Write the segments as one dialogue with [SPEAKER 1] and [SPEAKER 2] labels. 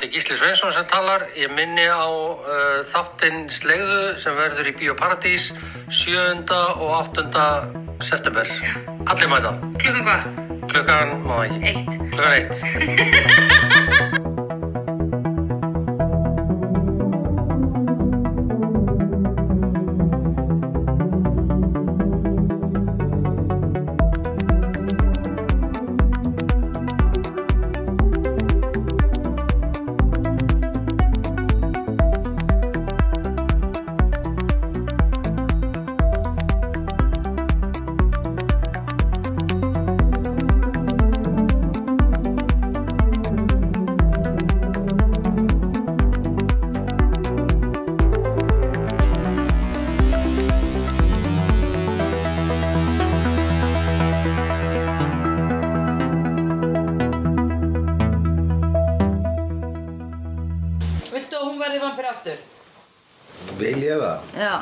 [SPEAKER 1] er Gísli Sveinsson sem talar. Ég minni á uh, þáttinn Slegðu sem verður í Bíóparadís 7. og 8. september. Allir mæta.
[SPEAKER 2] Klukkan hvað?
[SPEAKER 1] Klukkan, má ég,
[SPEAKER 2] Eitt.
[SPEAKER 1] klukkan eitt.
[SPEAKER 2] Viltu að hún verði vampir aftur?
[SPEAKER 3] Vil ég það?
[SPEAKER 2] Já.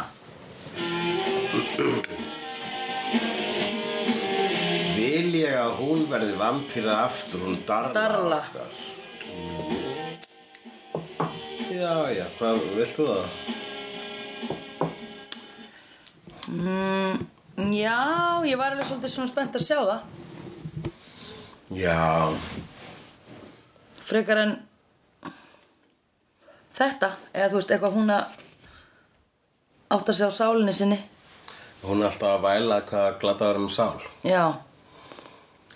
[SPEAKER 3] Vil ég að hún verði vampýra aftur, hún darla.
[SPEAKER 2] Darla.
[SPEAKER 3] okkar? Mm. Já, já, hvað, viltu það?
[SPEAKER 2] Já, ég var alveg svolítið svona spennt að sjá það.
[SPEAKER 3] Já,
[SPEAKER 2] Frekar en þetta, eða þú veist, eitthvað hún að átt að sjá sálinni sinni.
[SPEAKER 3] hún er alltaf að væla hvað glata var um sál.
[SPEAKER 2] Já,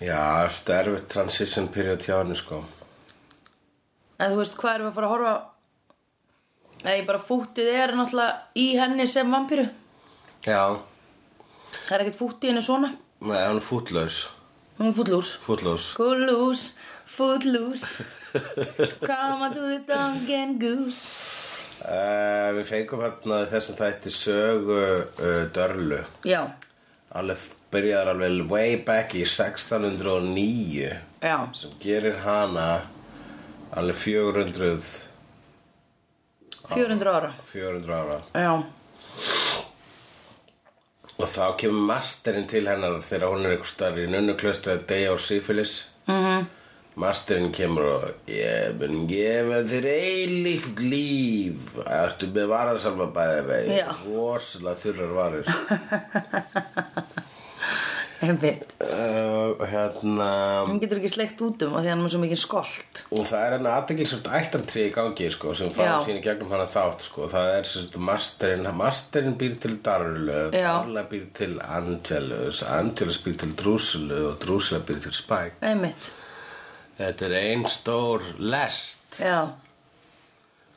[SPEAKER 3] Já, eftir erfitt transition period hjá henni, sko.
[SPEAKER 2] en þú veist, hvað erum við að fara að horfa á? Nei, bara fúttið er náttúrulega í henni sem vampíru.
[SPEAKER 3] Já,
[SPEAKER 2] Það er ekkert fútt í henni svona.
[SPEAKER 3] nei, hún er fútlaus,
[SPEAKER 2] Hún er fúllús.
[SPEAKER 3] fútlaus.
[SPEAKER 2] Fúllús, fúllús. Come on to the dog and goose.
[SPEAKER 3] Uh, við fengum hérna í þessum þætti sögu uh, Dörlu.
[SPEAKER 2] Já,
[SPEAKER 3] Alveg byrjaðar alveg way back í 1609.
[SPEAKER 2] já.
[SPEAKER 3] sem gerir hana alveg 400
[SPEAKER 2] 400 ára
[SPEAKER 3] 400 ára
[SPEAKER 2] Já,
[SPEAKER 3] og þá kemur masterinn til hennar þegar hún er eitthvað starf í nunnuklaustri að deyja úr sífilis mm
[SPEAKER 2] Mhm.
[SPEAKER 3] -hmm. masterinn kemur og ég mun gefa þér eilíft líf ertu með varasalva bæði vegi
[SPEAKER 2] Já.
[SPEAKER 3] rosalega þurrar varir
[SPEAKER 2] einmitt
[SPEAKER 3] uh, hérna
[SPEAKER 2] Hún getur ekki sleikt út um af því að hann er með svo mikið skolt
[SPEAKER 3] og það er hérna hennar aðdeglisvært ættartrý í gangi sko, sem fara
[SPEAKER 2] Já.
[SPEAKER 3] sín í gegnum hana þátt sko. það er sem sagt masterinn masterinn býr til Darlu
[SPEAKER 2] Já.
[SPEAKER 3] Darla býr til Angelus Angelus býr til Drúsulu og Drúsula býr til Spike
[SPEAKER 2] Einmitt,
[SPEAKER 3] þetta er ein stór lest
[SPEAKER 2] já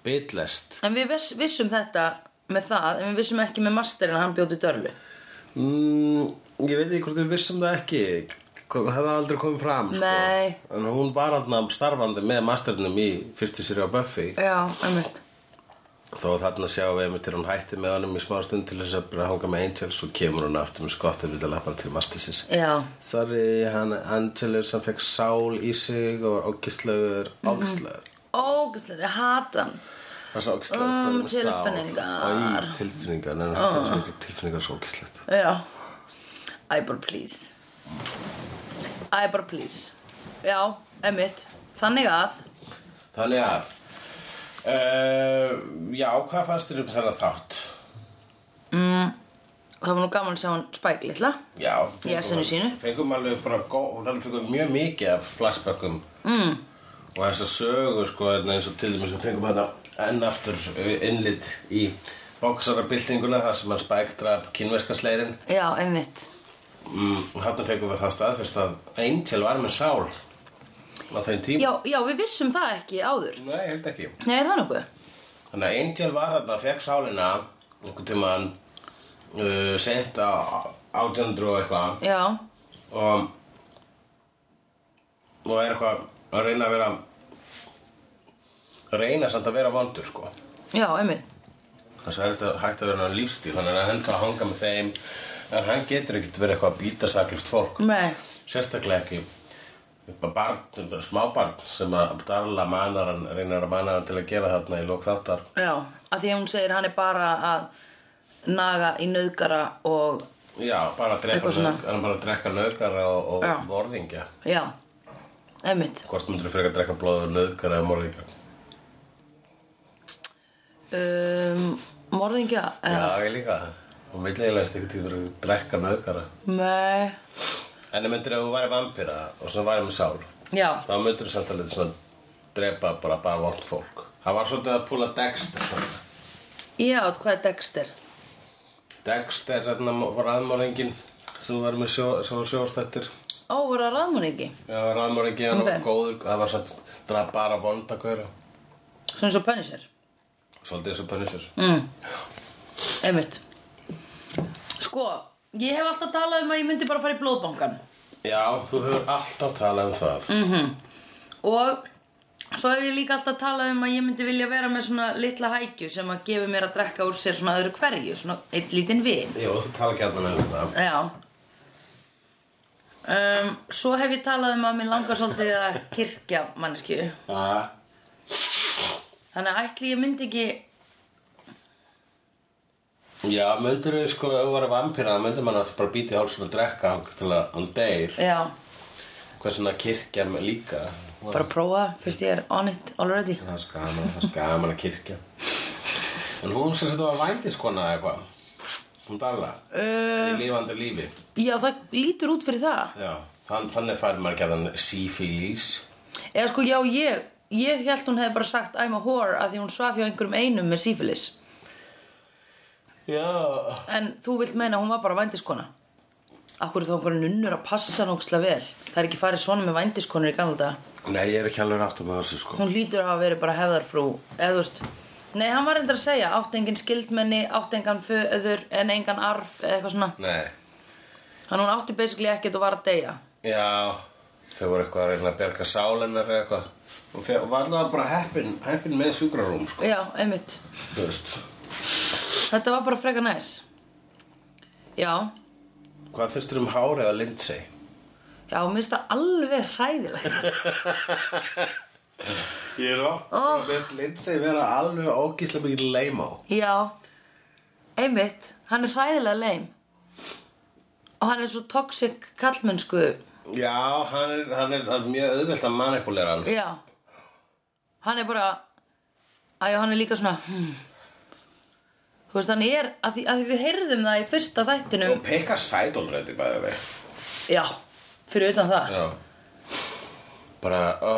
[SPEAKER 3] bitlest
[SPEAKER 2] En við viss, vissum þetta með það en við vissum ekki með masterinn að hann bjóti dörlu
[SPEAKER 3] mm, ég veit ekki hvort við vissum það ekki Kom- það hefði aldrei komið fram sko.
[SPEAKER 2] Nei.
[SPEAKER 3] en hún var alltaf starfandi með masterinum í fyrstu sér á Buffy
[SPEAKER 2] Já, einmitt
[SPEAKER 3] Þó að þarna sjáum við einmitt er hún hætti með honum í smá stund til þess að bara hanga með Angels og kemur hún aftur með skott að vilja lappa til Mastersins.
[SPEAKER 2] Já,
[SPEAKER 3] Sorry, hann Angelus, hann fekk sál í sig og var ógislaður,
[SPEAKER 2] Mhm.
[SPEAKER 3] ógislaður.
[SPEAKER 2] ógæslega, hatan
[SPEAKER 3] Það er svo ógislaður,
[SPEAKER 2] Um,
[SPEAKER 3] bara með sál.
[SPEAKER 2] tilfinningar.
[SPEAKER 3] Æ, tilfinningar, neina, þetta er svo mikið tilfinningar svo ógislegt.
[SPEAKER 2] Já Æ, bara please Æ, bara please Já, einmitt Þannig að
[SPEAKER 3] Þannig að, uh, já, hvað fannst þér um þennan þátt?
[SPEAKER 2] það var nú gaman að sjá hann spæk litla
[SPEAKER 3] Já,
[SPEAKER 2] Í essinu sínu.
[SPEAKER 3] Fengum alveg bara góð, hún alveg um fengum mjög mikið af flashbackum mm. og þess að sögu sko hérna, eins og til dæmis við fengum hana enn aftur innlit í bóksarabildinguna þar sem hann spækdra kynverska sleirin
[SPEAKER 2] Já, einmitt
[SPEAKER 3] mm, og þarna fengum við það staðfest að Angel var með sál á þeim tíma
[SPEAKER 2] Já, já, við vissum það ekki áður
[SPEAKER 3] Nei, ég held ekki
[SPEAKER 2] Nei, er það nokkuð?
[SPEAKER 3] Þannig að Angel var þarna, fekk sálina einhvern tímann uh, sent á 1800 og eitthvað
[SPEAKER 2] Já,
[SPEAKER 3] og og er eitthvað að reyna að vera að reyna samt að vera vondur sko
[SPEAKER 2] já, einmitt
[SPEAKER 3] þess að þetta hægt að vera hann lífstíl hann er að henda að hanga með þeim en hann getur ekkert verið eitthvað að býta saklust fólk
[SPEAKER 2] Nei,
[SPEAKER 3] sérstaklega ekki upp að barn, smábarn sem að darla manar hann, reynar að manar hann til að gera þarna í lók þáttar
[SPEAKER 2] já, að því að hún segir hann er bara að naga í nöðgara og,
[SPEAKER 3] já, bara að drekka,
[SPEAKER 2] Eitthvað svona.
[SPEAKER 3] nög, hann er bara að drekka nöðgara og,
[SPEAKER 2] Já.
[SPEAKER 3] og morðingja
[SPEAKER 2] já, einmitt
[SPEAKER 3] hvort myndur þú frekar að drekka blóður nöðgara eða morðingja
[SPEAKER 2] um, morðingja eða,
[SPEAKER 3] Já, ég líka Hún vill eiginlega ekki til fyrir að drekka nöðgara
[SPEAKER 2] með,
[SPEAKER 3] En það myndir að þú væri vampíra og svo væri með sál
[SPEAKER 2] já,
[SPEAKER 3] Þá myndir þú samt að leta svona drepa bara bara vort fólk Það var svolítið að púla Dexter þarna.
[SPEAKER 2] já, hvað er Dexter?
[SPEAKER 3] Dexter þarna var aðmálingin sem var með sjó, sem var sjóstættir
[SPEAKER 2] Ó, voru að ráðmúni ekki?
[SPEAKER 3] Já, aðmálingin hann
[SPEAKER 2] Ok.
[SPEAKER 3] var góður Það var samt draf bara vonda kvöra
[SPEAKER 2] Svona svo Punisher?
[SPEAKER 3] Svolítið eins og Punisher
[SPEAKER 2] Mm. Einmitt. Sko, ég hef alltaf talað um að ég myndi bara fara í blóðbankan.
[SPEAKER 3] Já, þú hefur alltaf talað um það
[SPEAKER 2] Og svo hef ég líka alltaf talað um að ég myndi vilja vera með svona litla hækju sem að gefa mér að drekka úr sér svona öðru hverju, svona einn lítinn vin.
[SPEAKER 3] Jú, þú tala ekki alltaf um það
[SPEAKER 2] Já. Um, svo hef ég talað um að mér langar svolítið að kirkja manneskju.
[SPEAKER 3] Já,
[SPEAKER 2] Þannig að ætli ég myndi ekki,
[SPEAKER 3] Já, myndir við sko, ef þú verður vampíra, þá myndir maður náttúrulega bara býti hálsum að drekka hann til að hann deyr.
[SPEAKER 2] já,
[SPEAKER 3] Hvað svona kirkja með líka?
[SPEAKER 2] bara prófa, fyrst ég er on it already.
[SPEAKER 3] Það er svo gaman, það er svo gaman að kirkja. En hún sem þetta var vændiskona eða eitthvað. Hún dalla.
[SPEAKER 2] Uh,
[SPEAKER 3] Í lifandi lífi.
[SPEAKER 2] já, það lítur út fyrir það.
[SPEAKER 3] Já, þann, þannig fær maður ekki að hann sífílís.
[SPEAKER 2] Eða sko, já, ég, ég held hún hefði bara sagt I'm a whore að því hún svaf hjá einhverjum einum með sífilis.
[SPEAKER 3] Já.
[SPEAKER 2] En þú vilt meina að hún var bara vændiskona. Akkur er þá einhverjum nunnur að passa nógslega vel. Það er ekki farið svona með vændiskonur í gamla daga.
[SPEAKER 3] Nei, ég er ekki alveg rátt um þessu sko.
[SPEAKER 2] Hún hlýtur að hafa verið bara hefðarfrú, eða þú veist. Nei, hann var reyndar að segja, átt engin skildmenni, átt engan föður, en engan arf, eða eitthvað svona.
[SPEAKER 3] Nei.
[SPEAKER 2] Þannig hún átti basically ekkert og var að deyja.
[SPEAKER 3] Já, þau voru eitthvað að reyna að berga sálennar eða eitthvað. Hún fer- hún var allavega bara heppin, heppin með sjúkrarúm sko.
[SPEAKER 2] Já, einmitt.
[SPEAKER 3] Þú veist.
[SPEAKER 2] Þetta var bara freka næs. Já,
[SPEAKER 3] Hvað finnst þér um hárið að Lindsay?
[SPEAKER 2] já, mér finnst það alveg hræðilegt.
[SPEAKER 3] Ég er á.
[SPEAKER 2] Oh.
[SPEAKER 3] Mér finnst Lindsay vera alveg ógíslega mikið leimá.
[SPEAKER 2] Já, einmitt, hann er hræðilega leim og hann er svo toxic kallmennsku,
[SPEAKER 3] Já, hann er, hann er, hann er mjög auðvelt að manipulera hann.
[SPEAKER 2] já, hann er bara, æja, hann er líka svona, hmm. þú veist, hann er, að því, að því við heyrðum það í fyrsta þættinum,
[SPEAKER 3] Og pekka sætólrætti bæði við.
[SPEAKER 2] já, fyrir utan það,
[SPEAKER 3] Já. Bara, ó,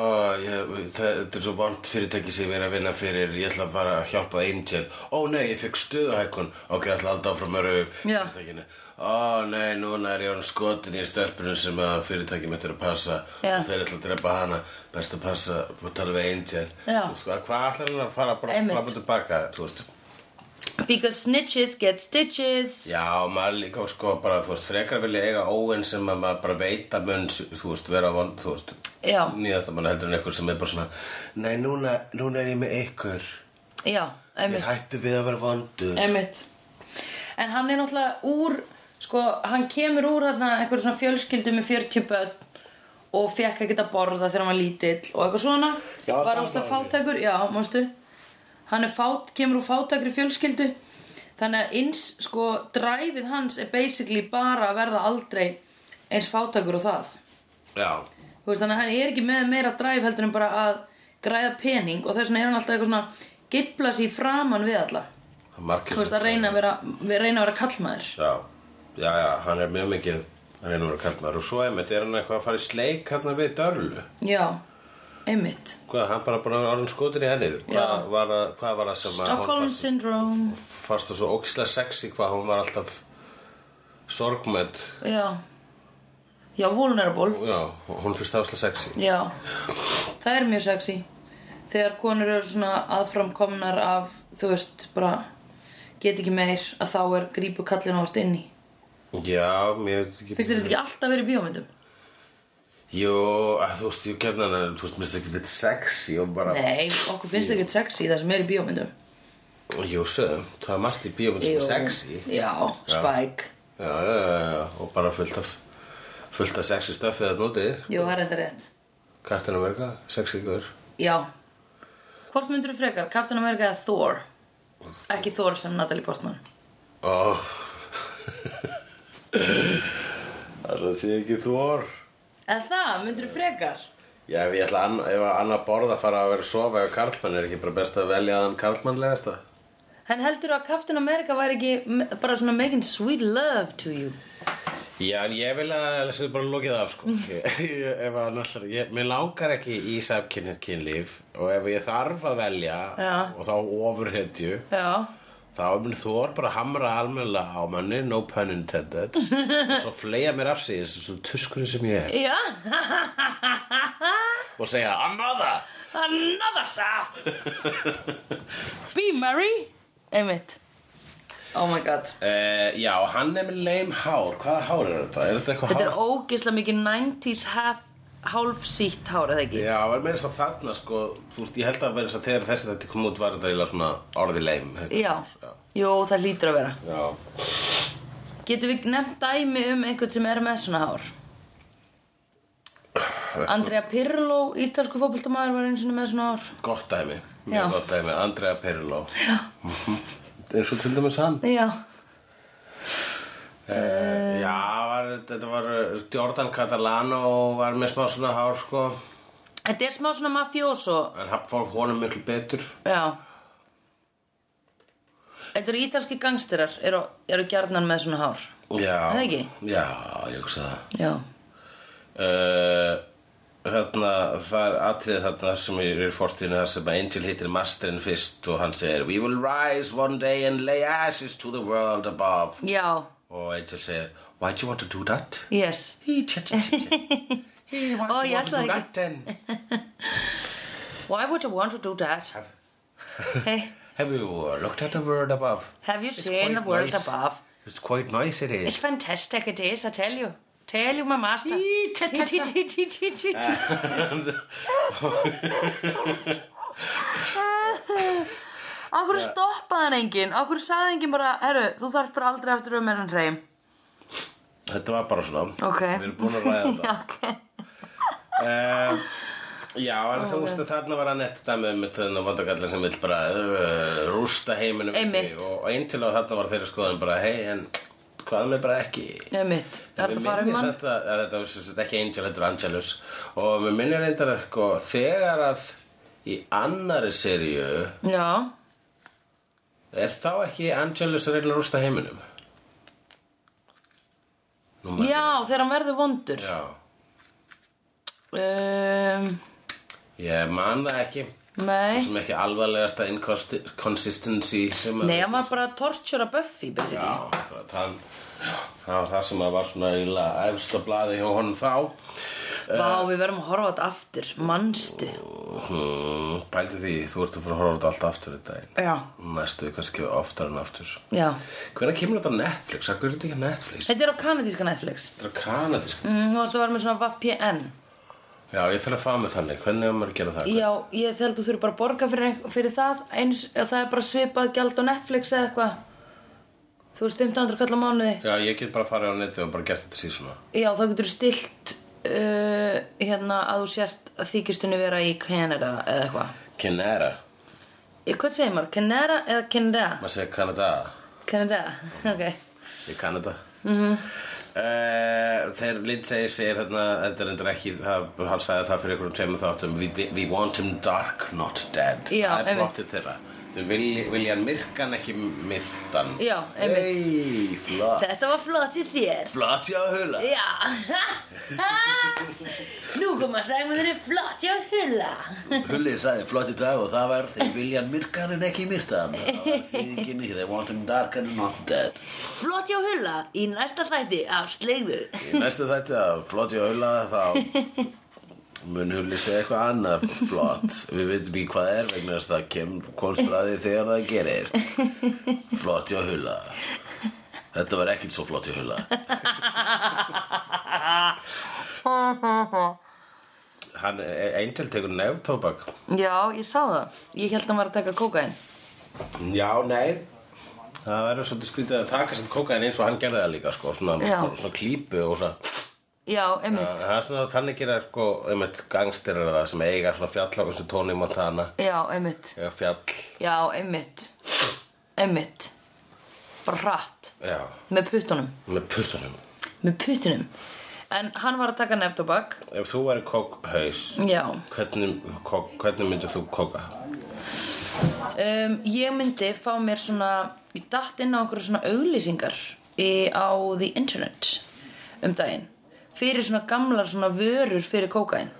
[SPEAKER 3] ég, það, þetta er svo vant fyrirtæki sem ég er að vinna fyrir, ég ætla að fara að hjálpa Angel. Ó nei, ég fekk stöðuhækun. Ok, ég ætla að halda áfram öru
[SPEAKER 2] Já.
[SPEAKER 3] fyrirtækinu. Ó nei, núna er ég hann skotin í stelpunum sem að fyrirtæki mitt er að passa.
[SPEAKER 2] Já.
[SPEAKER 3] Og þeir ætla að drepa hana, best að passa, og tala við Angel.
[SPEAKER 2] Já.
[SPEAKER 3] Og Sko, hvað ætlar hann að fara bara
[SPEAKER 2] Einmitt.
[SPEAKER 3] fram og tilbaka, þú veist?
[SPEAKER 2] because snitches get stitches,
[SPEAKER 3] Já, maður líka sko bara, þú veist, frekar vilja eiga óin sem að maður bara veit að mun, þú veist, vera vond, þú veist,
[SPEAKER 2] já,
[SPEAKER 3] nýjasta mann heldur en eitthvað sem er bara svona, nei, núna, núna er ég með ykkur,
[SPEAKER 2] já,
[SPEAKER 3] ég
[SPEAKER 2] einmitt.
[SPEAKER 3] er hættu við að vera vondur.
[SPEAKER 2] Einmitt. En hann er náttúrulega úr, sko, hann kemur úr þarna einhverjum svona fjölskyldu með 40 börn og fekk ekkert að borða þegar hann var lítill og eitthvað svona.
[SPEAKER 3] Já,
[SPEAKER 2] var
[SPEAKER 3] það
[SPEAKER 2] ástæða
[SPEAKER 3] var hann.
[SPEAKER 2] fátækur, já, mástu. Hann er fát, kemur úr fátækri fjölskyldu. Þannig að eins, sko, dræfið hans er basically bara að verða aldrei eins fátækur og það.
[SPEAKER 3] Já,
[SPEAKER 2] Þú veist, þannig að hann er ekki með meira dræf heldur en bara að græða pening og þess vegna er hann alltaf eitthvað svona geifla sér framan við alla
[SPEAKER 3] það er margir.
[SPEAKER 2] þú veist að reyna að vera, við reyna að vera kallmaður
[SPEAKER 3] Já, já, já, hann er mjög mikið, hann er nú að kalla maður og svo einmitt er hann eitthvað að fara í sleik hann við dörlu.
[SPEAKER 2] já, einmitt
[SPEAKER 3] Hvað, hann bara bara orðin skotin í henni, hvað
[SPEAKER 2] Já.
[SPEAKER 3] var, að, hvað var að sem að
[SPEAKER 2] Stockholm
[SPEAKER 3] fannst-
[SPEAKER 2] syndrome
[SPEAKER 3] fannst það svo ókislega sexy hvað hún var alltaf sorgmætt
[SPEAKER 2] já, já, vulnerable
[SPEAKER 3] Já, hún finnst það áslega sexy
[SPEAKER 2] já, það er mjög sexy þegar konur eru svona aðframkomnar af, þú veist, bara get ekki meir að þá er grípu kallin árt inn í
[SPEAKER 3] Já, mér veit ekki
[SPEAKER 2] finnst þér þetta ekki alltaf verið í bíómyndum?
[SPEAKER 3] Jú, að, þú veist, ég gerði hana Þú veist, mér finnst það ekki þetta sexy og bara
[SPEAKER 2] nei, okkur finnst þetta ekki sexy það sem er í bíómyndum
[SPEAKER 3] Jú, sögum, það er margt í bíómynd sem er sexy Já,
[SPEAKER 2] já, spæk
[SPEAKER 3] já, já, já, og bara fullt af fullt af sexy stöfið að núti
[SPEAKER 2] jú, það er þetta rétt
[SPEAKER 3] Captain America, sexy guður
[SPEAKER 2] já hvort myndur þú frekar, Captain America eða Thor ekki Thor sem Natalie Portman
[SPEAKER 3] Ó Það sé ekki þor
[SPEAKER 2] Eða það, myndur þú frekar?
[SPEAKER 3] Já, ef ég ætla að, ef að annað borð að fara að vera að sofa eða karlmann er ekki bara best að velja þann karlmannlegasta
[SPEAKER 2] En heldur að Captain America væri ekki me- bara svona making sweet love to you?
[SPEAKER 3] Já, en ég vil að þessu bara lokið af sko Ég- ég- Ef að náttúrulega, ég, mér langar ekki í samkynnið kynlíf og ef ég þarf að velja
[SPEAKER 2] Já.
[SPEAKER 3] og þá ofurhetju
[SPEAKER 2] Já.
[SPEAKER 3] þá mun Þór bara hamra almennilega á manni, no pun intended og svo fleia mér af sig eins og svo tuskurinn sem ég er
[SPEAKER 2] Já.
[SPEAKER 3] og segja another
[SPEAKER 2] Another sap. Be merry. Einmitt. Oh my god.
[SPEAKER 3] uh, Já, hann er með leim hár, hvaða hár er þetta? Er þetta eitthvað
[SPEAKER 2] Þetta er
[SPEAKER 3] hár?
[SPEAKER 2] ógislega mikið 90s half, hálf sítt hár, eða ekki?
[SPEAKER 3] Já, var meira þess að þarna sko, þú veist, ég held að vera þess að þegar þessi þetta kom út var þetta eiginlega svona orði leim
[SPEAKER 2] Já. Jú, það hlýtur að vera.
[SPEAKER 3] Já,
[SPEAKER 2] Getum við nefnt dæmi um einhvern sem er með svona hár? Andrea Pirlo, ítalsku fótboltamaður, var eins og með svona hár.
[SPEAKER 3] gott dæmi, mjög
[SPEAKER 2] Já.
[SPEAKER 3] gott dæmi, Andrea Perlo Já eins og til dæmis hann
[SPEAKER 2] Já. Eh.
[SPEAKER 3] Uh, já, var, þetta var uh, Jordan Catalano var með smá svona hár sko
[SPEAKER 2] Þetta er smá svona mafjóso.
[SPEAKER 3] en hann fór honum miklu betur
[SPEAKER 2] Já. Þetta eru ítalski gangsterar, eru, eru gjarnan með svona hár.
[SPEAKER 3] Já,
[SPEAKER 2] Er það ekki?
[SPEAKER 3] já ég hugsa það
[SPEAKER 2] Já.
[SPEAKER 3] uh, hérna, Það er atrið þarna sem er í fortíðinu þar sem að Angel hittir masterinn fyrst og hann segir We will rise one day and lay ashes to the world above
[SPEAKER 2] Já,
[SPEAKER 3] og Angel segir Why do you want to do that?
[SPEAKER 2] yes.
[SPEAKER 3] He, tja, tja, tja, tja. He, why
[SPEAKER 2] Ó,
[SPEAKER 3] do
[SPEAKER 2] ég
[SPEAKER 3] you want to
[SPEAKER 2] ætlaði
[SPEAKER 3] do
[SPEAKER 2] ekki.
[SPEAKER 3] that then?
[SPEAKER 2] Why would you want to do that? hey,
[SPEAKER 3] Have you uh, looked at the world above?
[SPEAKER 2] have you
[SPEAKER 3] quite
[SPEAKER 2] seen the world
[SPEAKER 3] nice.
[SPEAKER 2] above?
[SPEAKER 3] It's quite nice it
[SPEAKER 2] It's
[SPEAKER 3] is
[SPEAKER 2] fantastic, it is, I tell you. Tell you, my master.
[SPEAKER 3] Ee, ta, ta, ta.
[SPEAKER 2] Á hverju stoppaði hann enginn? Á hverju sagði enginn bara, herru, þú þarf bara aldrei aftur um meðan hreim.
[SPEAKER 3] Þetta var bara svona
[SPEAKER 2] Ok.
[SPEAKER 3] Við erum búin að ræða þetta
[SPEAKER 2] Já, ok.
[SPEAKER 3] Eh, Já, en
[SPEAKER 2] Oh,
[SPEAKER 3] þú veist að þarna var hann eftir dæmi með þennan vandakallar sem vill bara uh, rústa heiminum
[SPEAKER 2] Einmitt.
[SPEAKER 3] og einn til á þarna var þeirra skoðan bara hei, en hvað með bara ekki
[SPEAKER 2] Ég mitt, er
[SPEAKER 3] Mér
[SPEAKER 2] þetta farið um
[SPEAKER 3] minnir
[SPEAKER 2] hann?
[SPEAKER 3] samt að- að Þetta var sem sagt ekki Angel, þetta var Angelus og mér minnir reyndar að sko, þegar að í annari seríu
[SPEAKER 2] Já,
[SPEAKER 3] er þá ekki Angelus að reyna að rústa heiminum Nú maður-
[SPEAKER 2] já, þegar hann verður vondur.
[SPEAKER 3] Já,
[SPEAKER 2] Um,
[SPEAKER 3] ég man það ekki Svo
[SPEAKER 2] nei,
[SPEAKER 3] sem ekki alvarlegasta inconsistency sem að
[SPEAKER 2] nei, hann var bara að tortjura Buffy, basically.
[SPEAKER 3] Já, akkurat, hann, það var það sem að var svona eiginlega efst á blaði hjá honum þá
[SPEAKER 2] Vá, við verðum að horfa á þetta aftur, manstu.
[SPEAKER 3] hmm, Pældi því, þú ert að fara að horfa á þetta allt aftur í dag
[SPEAKER 2] Já,
[SPEAKER 3] Næstu kannski oftar en aftur
[SPEAKER 2] já.
[SPEAKER 3] Hvenær kemur þetta á Netflix? Akkur er þetta ekki á Netflix?
[SPEAKER 2] Þetta er á kanadíska Netflix.
[SPEAKER 3] Þetta er á kanadísk
[SPEAKER 2] Mm, Þú ætti að vera með svona VPN.
[SPEAKER 3] Já, ég þarf að fá mig þannig, hvernig er maður að gera það?
[SPEAKER 2] Já, ég held þú þurfi bara að borga fyrir, fyrir það. Eins, það er bara svipað gjald á Netflix eða eitthvað. Þú veist, 1500 kall á mánuði.
[SPEAKER 3] Já, ég get bara að fara á neti og bara gert þetta síð svona
[SPEAKER 2] Já, þá getur þú stilt uh, hérna að þú sért að þykistunni vera í Canada eða eitthvað.
[SPEAKER 3] Canada,
[SPEAKER 2] Í, Hvað segir maður? Canada eða Canada?
[SPEAKER 3] maður segir Canada
[SPEAKER 2] Canada, ok.
[SPEAKER 3] í Kanada mm
[SPEAKER 2] Mhm.
[SPEAKER 3] -hmm. uh, þegar Lindsay segir þarna þetta er endur ekki, það, hann sagði það fyrir einhverjum tveimur þáttum we, we, we want him dark, not dead
[SPEAKER 2] Já,
[SPEAKER 3] það er
[SPEAKER 2] einmitt.
[SPEAKER 3] brottið þeirra þeir vilja, vilja hann myrkan ekki myrtan
[SPEAKER 2] Já, einmitt.
[SPEAKER 3] Ey, flott
[SPEAKER 2] Þetta var flott í þér.
[SPEAKER 3] flott já hula
[SPEAKER 2] Já, nú kom að segja mér þeirri flott, já, hulla.
[SPEAKER 3] Hulli sagði flott í dag og það var þeir vilja hann myrkan en ekki myrtan það var þýðinginni, they want him dark and not dead
[SPEAKER 2] Flott, já, hulla í næsta þætti af slegðu.
[SPEAKER 3] Í næstu þætti að flott í aula þá mun hulli segja eitthvað annað flott við veitum ekki hvað er vegna þess að það kem, komst að því þegar það gerist flott í aula þetta var ekkert svo flott í aula hann, e-, Angel tekur neftóbak
[SPEAKER 2] Já, ég sá það. Ég held að hann var að taka kókain.
[SPEAKER 3] já, nei það verður svolítið skrítið að taka sem kókaðin eins og hann gerði það líka sko, svona,
[SPEAKER 2] Já.
[SPEAKER 3] svona klípu og svona
[SPEAKER 2] Já, einmitt.
[SPEAKER 3] Það er svona þannig gera sko, einmitt gangstyrar það sem eiga svona fjall á þessu tóni Montana
[SPEAKER 2] Já, einmitt.
[SPEAKER 3] eiga fjall,
[SPEAKER 2] Já, einmitt. Einmitt. Bara hratt.
[SPEAKER 3] já,
[SPEAKER 2] Með puttunum.
[SPEAKER 3] með puttunum
[SPEAKER 2] Með puttunum. En hann var að taka neftóbak.
[SPEAKER 3] Ef þú væri kokkhaus
[SPEAKER 2] Já.
[SPEAKER 3] hvernig, kok, hvernig myndir þú kokka?
[SPEAKER 2] um, ég myndi fá mér svona ég datt inn á einhverju svona auglýsingar í, á the internet um daginn fyrir svona gamlar svona vörur fyrir kókain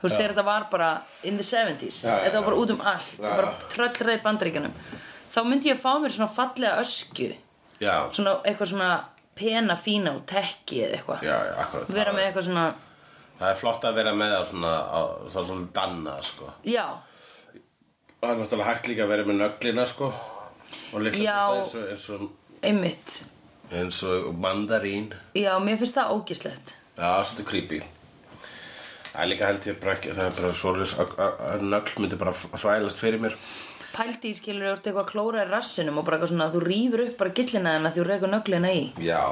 [SPEAKER 2] þú veist þegar þetta var bara in the 70s
[SPEAKER 3] Já, já,
[SPEAKER 2] þetta var bara
[SPEAKER 3] já.
[SPEAKER 2] út um allt
[SPEAKER 3] Já,
[SPEAKER 2] þetta var
[SPEAKER 3] já.
[SPEAKER 2] bara tröllreið bandaríkjanum þá myndi ég fá mér svona fallega öskju
[SPEAKER 3] Já,
[SPEAKER 2] svona eitthvað svona pena fína og tekki eða eitthvað
[SPEAKER 3] já, já, akkurat
[SPEAKER 2] vera með
[SPEAKER 3] það,
[SPEAKER 2] eitthvað svona
[SPEAKER 3] það er flott að vera með það svona, á, það er svona danna, sko
[SPEAKER 2] já,
[SPEAKER 3] Það er náttúrulega hægt líka að vera með nöglina, sko Og líka
[SPEAKER 2] Já.
[SPEAKER 3] eins og, eins og,
[SPEAKER 2] einmitt
[SPEAKER 3] eins og mandarín
[SPEAKER 2] já, mér finnst það ógislegt
[SPEAKER 3] Já, svolítið creepy Það er líka held ég bara ekki, það er bara svoleiðis að- að að nögl myndi bara þvælast fyrir mér
[SPEAKER 2] pældi í skilur þú ert eitthvað að klóra í rassinum og bara eitthvað svona að þú rýfur upp bara gillina þennan því þú reykur nöglina í
[SPEAKER 3] Já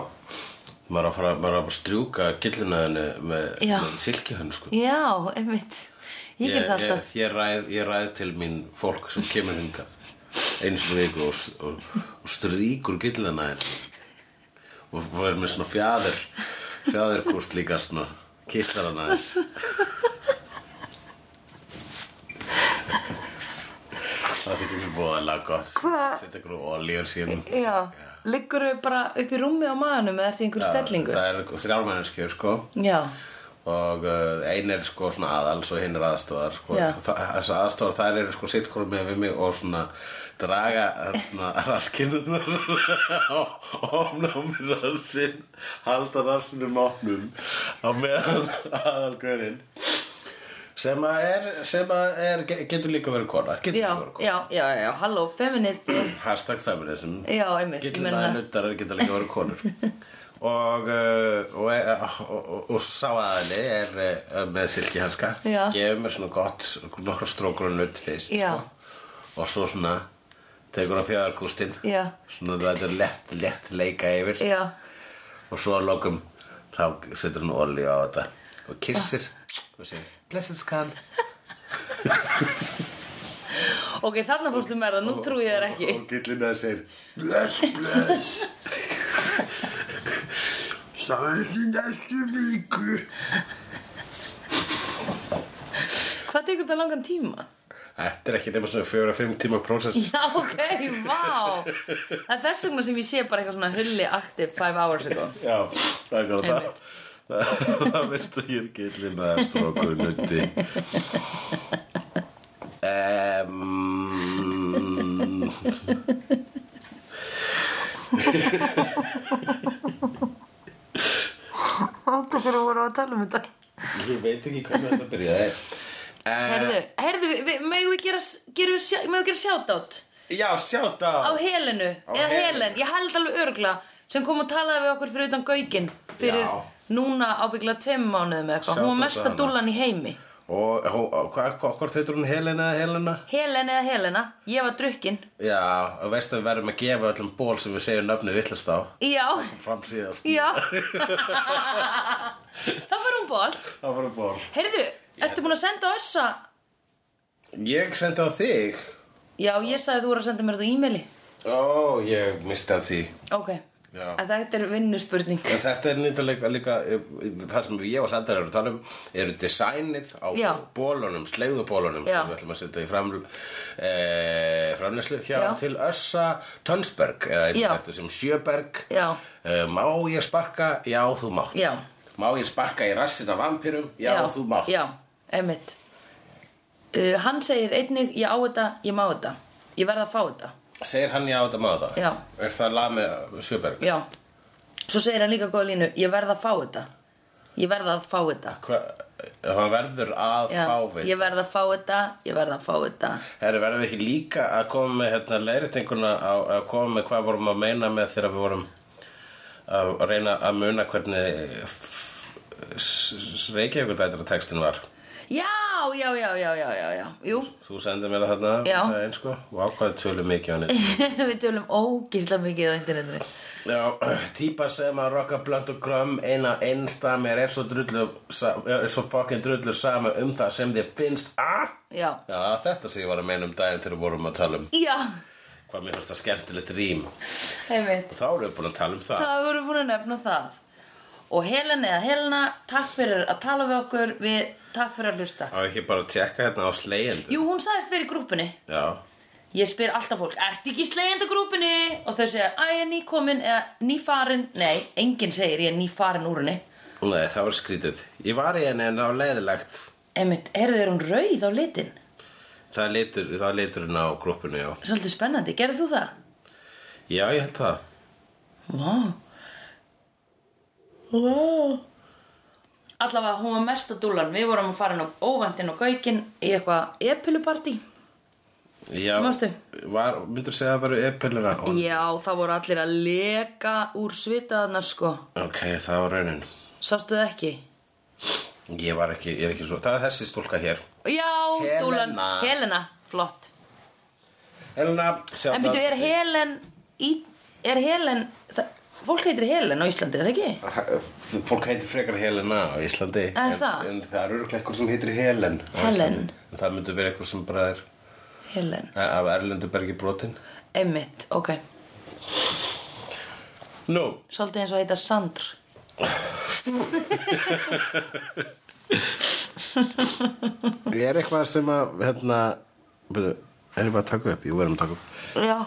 [SPEAKER 3] Maður á að fara maður á að bara strjúka gillunaðinu með,
[SPEAKER 2] Já.
[SPEAKER 3] með silkihönn sko
[SPEAKER 2] já, einmitt ég ger það alltaf
[SPEAKER 3] ég, ég, ræð, ég ræð til mín fólk sem kemur hingað eins og viku og, og, og strýkur gillunaðin og og er með svona fjæður fjæðurkúst líka svona kittar hann aðeins Það þykir mér búið gott
[SPEAKER 2] Hva?
[SPEAKER 3] Setja ykkur olíur síðan
[SPEAKER 2] já, liggur þú bara upp í rúmi á maðanum eða eftir einhverju stellingu
[SPEAKER 3] Það er þrjálmennskjur sko
[SPEAKER 2] já,
[SPEAKER 3] og uh, ein er sko svona aðals og hinn er aðstofar sko.
[SPEAKER 2] Já.
[SPEAKER 3] Þa- þessar aðstofar þær eru sko sittkorum með við mig og svona draga hérna, raskinnunar og opna á mér rassin halda rassinum opnum á meðan aðalgörinn sem að er, sem að er ge- getur líka verið kona getur
[SPEAKER 2] já,
[SPEAKER 3] líka verið kona
[SPEAKER 2] já, já, já, já, halló, feministi
[SPEAKER 3] hashtag feminism
[SPEAKER 2] já, einmitt, ég
[SPEAKER 3] gillina
[SPEAKER 2] meina það
[SPEAKER 3] nuttarar geta líka verið konur og, uh, og, og, og, og sá aðali er uh, með silkihanska
[SPEAKER 2] Já.
[SPEAKER 3] gefur mér svona gott nokkra strókur og nutt fyrst
[SPEAKER 2] Já.
[SPEAKER 3] sko. og svo svona tekur hann fjöðarkústinn
[SPEAKER 2] Já.
[SPEAKER 3] svona þetta er lett, lett leika yfir
[SPEAKER 2] já,
[SPEAKER 3] og svo að lokum þá setur hann olíu á þetta og kissir
[SPEAKER 2] Ah.
[SPEAKER 3] og segir blessed scan
[SPEAKER 2] ok, þarna fórstu mér það, nú trúi ég þér ekki
[SPEAKER 3] og gillina segir bless, bless sáðist í næstu viku
[SPEAKER 2] hvað tekur þetta langan tíma?
[SPEAKER 3] Þetta er ekki nema svona 4-5 tíma prósess
[SPEAKER 2] Já, ok, vá Það er þess vegna sem ég sé bara eitthvað svona hulli active five hours ago
[SPEAKER 3] Já, það er góð það
[SPEAKER 2] Einmitt.
[SPEAKER 3] Það veistu ég er gillin að strókur nutti um,
[SPEAKER 2] Átta fyrir að voru að tala um þetta
[SPEAKER 3] Ég veit ekki hvernig þetta byrjaði uh,
[SPEAKER 2] Herðu, herðu, við- við- megum við gera, gerum, við sjá- megum við gera shoutout
[SPEAKER 3] Já, sjáta
[SPEAKER 2] á Helenu,
[SPEAKER 3] Á
[SPEAKER 2] eða
[SPEAKER 3] Helenu.
[SPEAKER 2] Helen, ég held alveg örgla sem kom og talaði við okkur fyrir utan Gaukin fyrir
[SPEAKER 3] Já.
[SPEAKER 2] núna ábyggla tveim mánuðum eða eitthvað, hún var
[SPEAKER 3] Shoutout
[SPEAKER 2] mesta
[SPEAKER 3] á hana.
[SPEAKER 2] dúllan í heimi
[SPEAKER 3] Og hó- hó- hvað, hvað, hvort heitir hún Helena eða Helena?
[SPEAKER 2] Helen eða Helena, ég var drukkin
[SPEAKER 3] Já, og veistu að við verðum að gefa öllum ból sem við segjum nöfnið villast á
[SPEAKER 2] Já,
[SPEAKER 3] Framsíðast
[SPEAKER 2] já Það var hún ból
[SPEAKER 3] Það var ból
[SPEAKER 2] Heyrðu, ertu búin að senda á össa?
[SPEAKER 3] Ég sendi á þig
[SPEAKER 2] Já, ég sagði þú voru að senda mér þetta á e-maili
[SPEAKER 3] Ó, ég misti af því
[SPEAKER 2] Ok,
[SPEAKER 3] Já.
[SPEAKER 2] að þetta er vinnuspurning
[SPEAKER 3] En þetta er nýttalega líka, líka það sem ég og Sandar eru að tala um eru designið á
[SPEAKER 2] Já.
[SPEAKER 3] bólunum, slegðubólunum
[SPEAKER 2] Já.
[SPEAKER 3] sem við ætlum að setja í fram, e, framlýslu hjá
[SPEAKER 2] Já.
[SPEAKER 3] til Össa Tönsberg
[SPEAKER 2] Já.
[SPEAKER 3] eða einhvern þetta sem Sjöberg
[SPEAKER 2] Já.
[SPEAKER 3] e, Má ég sparka? Já, þú mátt
[SPEAKER 2] Já.
[SPEAKER 3] Má ég sparka í rassin af vampirum? Já, þú mátt
[SPEAKER 2] Já, einmitt uh, Hann segir einnig, ég á þetta, ég má þetta Ég verð að fá þetta
[SPEAKER 3] Segir hann já, þetta má þetta?
[SPEAKER 2] Já.
[SPEAKER 3] Er það lag með Sjöberg?
[SPEAKER 2] Já, svo segir hann líka góða línu Ég verð að fá þetta Ég verð að fá þetta
[SPEAKER 3] Hva, hann verður að
[SPEAKER 2] Já,
[SPEAKER 3] fá við
[SPEAKER 2] Ég verð að fá þetta, ég verð að fá þetta
[SPEAKER 3] Herri, verðum við ekki líka að koma með hérna, leiðréttinguna á að koma með hvað vorum að meina með þegar við vorum að að reyna að muna hvernig Reykjavíkudætara textin var
[SPEAKER 2] Já, já, já, já, já, já, já Jú,
[SPEAKER 3] Þú sendir mér það þarna
[SPEAKER 2] Já.
[SPEAKER 3] það eins, sko, og ákvaði tölum mikið á nýtt
[SPEAKER 2] við tölum ógísla mikið á internetinu
[SPEAKER 3] Já, típa sem að rocka blönd og grömm eina einsta mér er svo drullu sa- er svo fucking drullu sama um það sem þið finnst að
[SPEAKER 2] Já,
[SPEAKER 3] Já, þetta sem ég var að meina um daginn þegar við vorum að tala um
[SPEAKER 2] já,
[SPEAKER 3] hvað mér finnst það skemmtilegt rím og
[SPEAKER 2] einmitt
[SPEAKER 3] þá erum við búin að tala um það
[SPEAKER 2] Það voru búin að nefna það Og Helen eða Helena, takk fyrir að tala við okkur við, Takk fyrir að hlusta
[SPEAKER 3] Á ekki bara að tekka hérna á slegjendu?
[SPEAKER 2] Jú, hún sagðist verið í grúpunni
[SPEAKER 3] Já,
[SPEAKER 2] Ég spyr alltaf fólk, ertu ekki í slegjandagrúpinni? Og þau segja, að ég er nýkomin eða nýfarin Nei, enginn segir ég er nýfarin úr henni
[SPEAKER 3] Nei, það var skrítið. Ég var í henni en það var leiðilegt.
[SPEAKER 2] Einmitt, heyrðu, er hún rauð á litin?
[SPEAKER 3] Það er litur, það er liturinn á grúppinu, já.
[SPEAKER 2] Svolítið spennandi, gerðu þú það?
[SPEAKER 3] Já, ég held það.
[SPEAKER 2] Vá Vá Allavega, hún var mesta dúlan Við vorum að fara inn á óvendin og gaukin í eitthvað epilupartí
[SPEAKER 3] Já,
[SPEAKER 2] Manstu?
[SPEAKER 3] var, myndur segja að það varu eppilina?
[SPEAKER 2] Já, það voru allir að leka úr svitaðna sko
[SPEAKER 3] Ok, það var raunin.
[SPEAKER 2] Sástu það ekki?
[SPEAKER 3] Ég var ekki, ég er ekki svo, það er þessi stúlka hér.
[SPEAKER 2] Já,
[SPEAKER 3] Helena.
[SPEAKER 2] dúlan Helena, flott
[SPEAKER 3] Helena, sjá
[SPEAKER 2] En býtu, er Helen í, Er Helen það, Fólk heitir Helen á Íslandi, er það ekki?
[SPEAKER 3] Fólk heitir frekar Helena á Íslandi.
[SPEAKER 2] Er það?
[SPEAKER 3] En, en það er örgulega eitthvað sem heitir Helen. á
[SPEAKER 2] Helen.
[SPEAKER 3] Íslandi. En það myndur vera eitthvað sem bara er
[SPEAKER 2] Helen,
[SPEAKER 3] eh, af Erlendubergi brotin.
[SPEAKER 2] einmitt, ok
[SPEAKER 3] Nú,
[SPEAKER 2] Svolítið eins og heita Sandr
[SPEAKER 3] er eitthvað sem að, hérna, byrju, er ég bara að taka upp? Jú, við erum að taka upp.
[SPEAKER 2] Já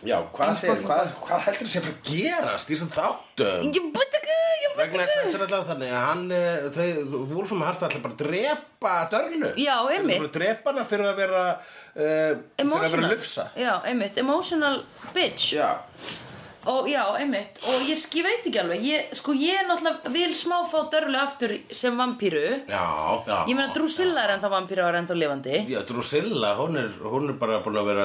[SPEAKER 3] Já, hvað, segir, hvað, hvað heldur þessi að fara að gerast í þessum þáttum?
[SPEAKER 2] Ég veit ekki, ég veit
[SPEAKER 3] vegna
[SPEAKER 2] ekki
[SPEAKER 3] þess að þetta er alltaf þannig að hann eh, þau, Wolfram Hart alltaf bara að drepa dörlu
[SPEAKER 2] Já, einmitt.
[SPEAKER 3] bara að drepa hana fyrir að vera uh, fyrir að vera lufsa
[SPEAKER 2] Já, einmitt, emotional bitch
[SPEAKER 3] já,
[SPEAKER 2] Og já, einmitt, og ég, sk- ég veit ekki alveg ég, Sko, ég náttúrulega vil smá fá dörlu aftur sem vampíru
[SPEAKER 3] já, já
[SPEAKER 2] Ég meina Drusilla er ennþá vampíru og er ennþá lifandi
[SPEAKER 3] Já, Drusilla, hún er, hún er bara búin að vera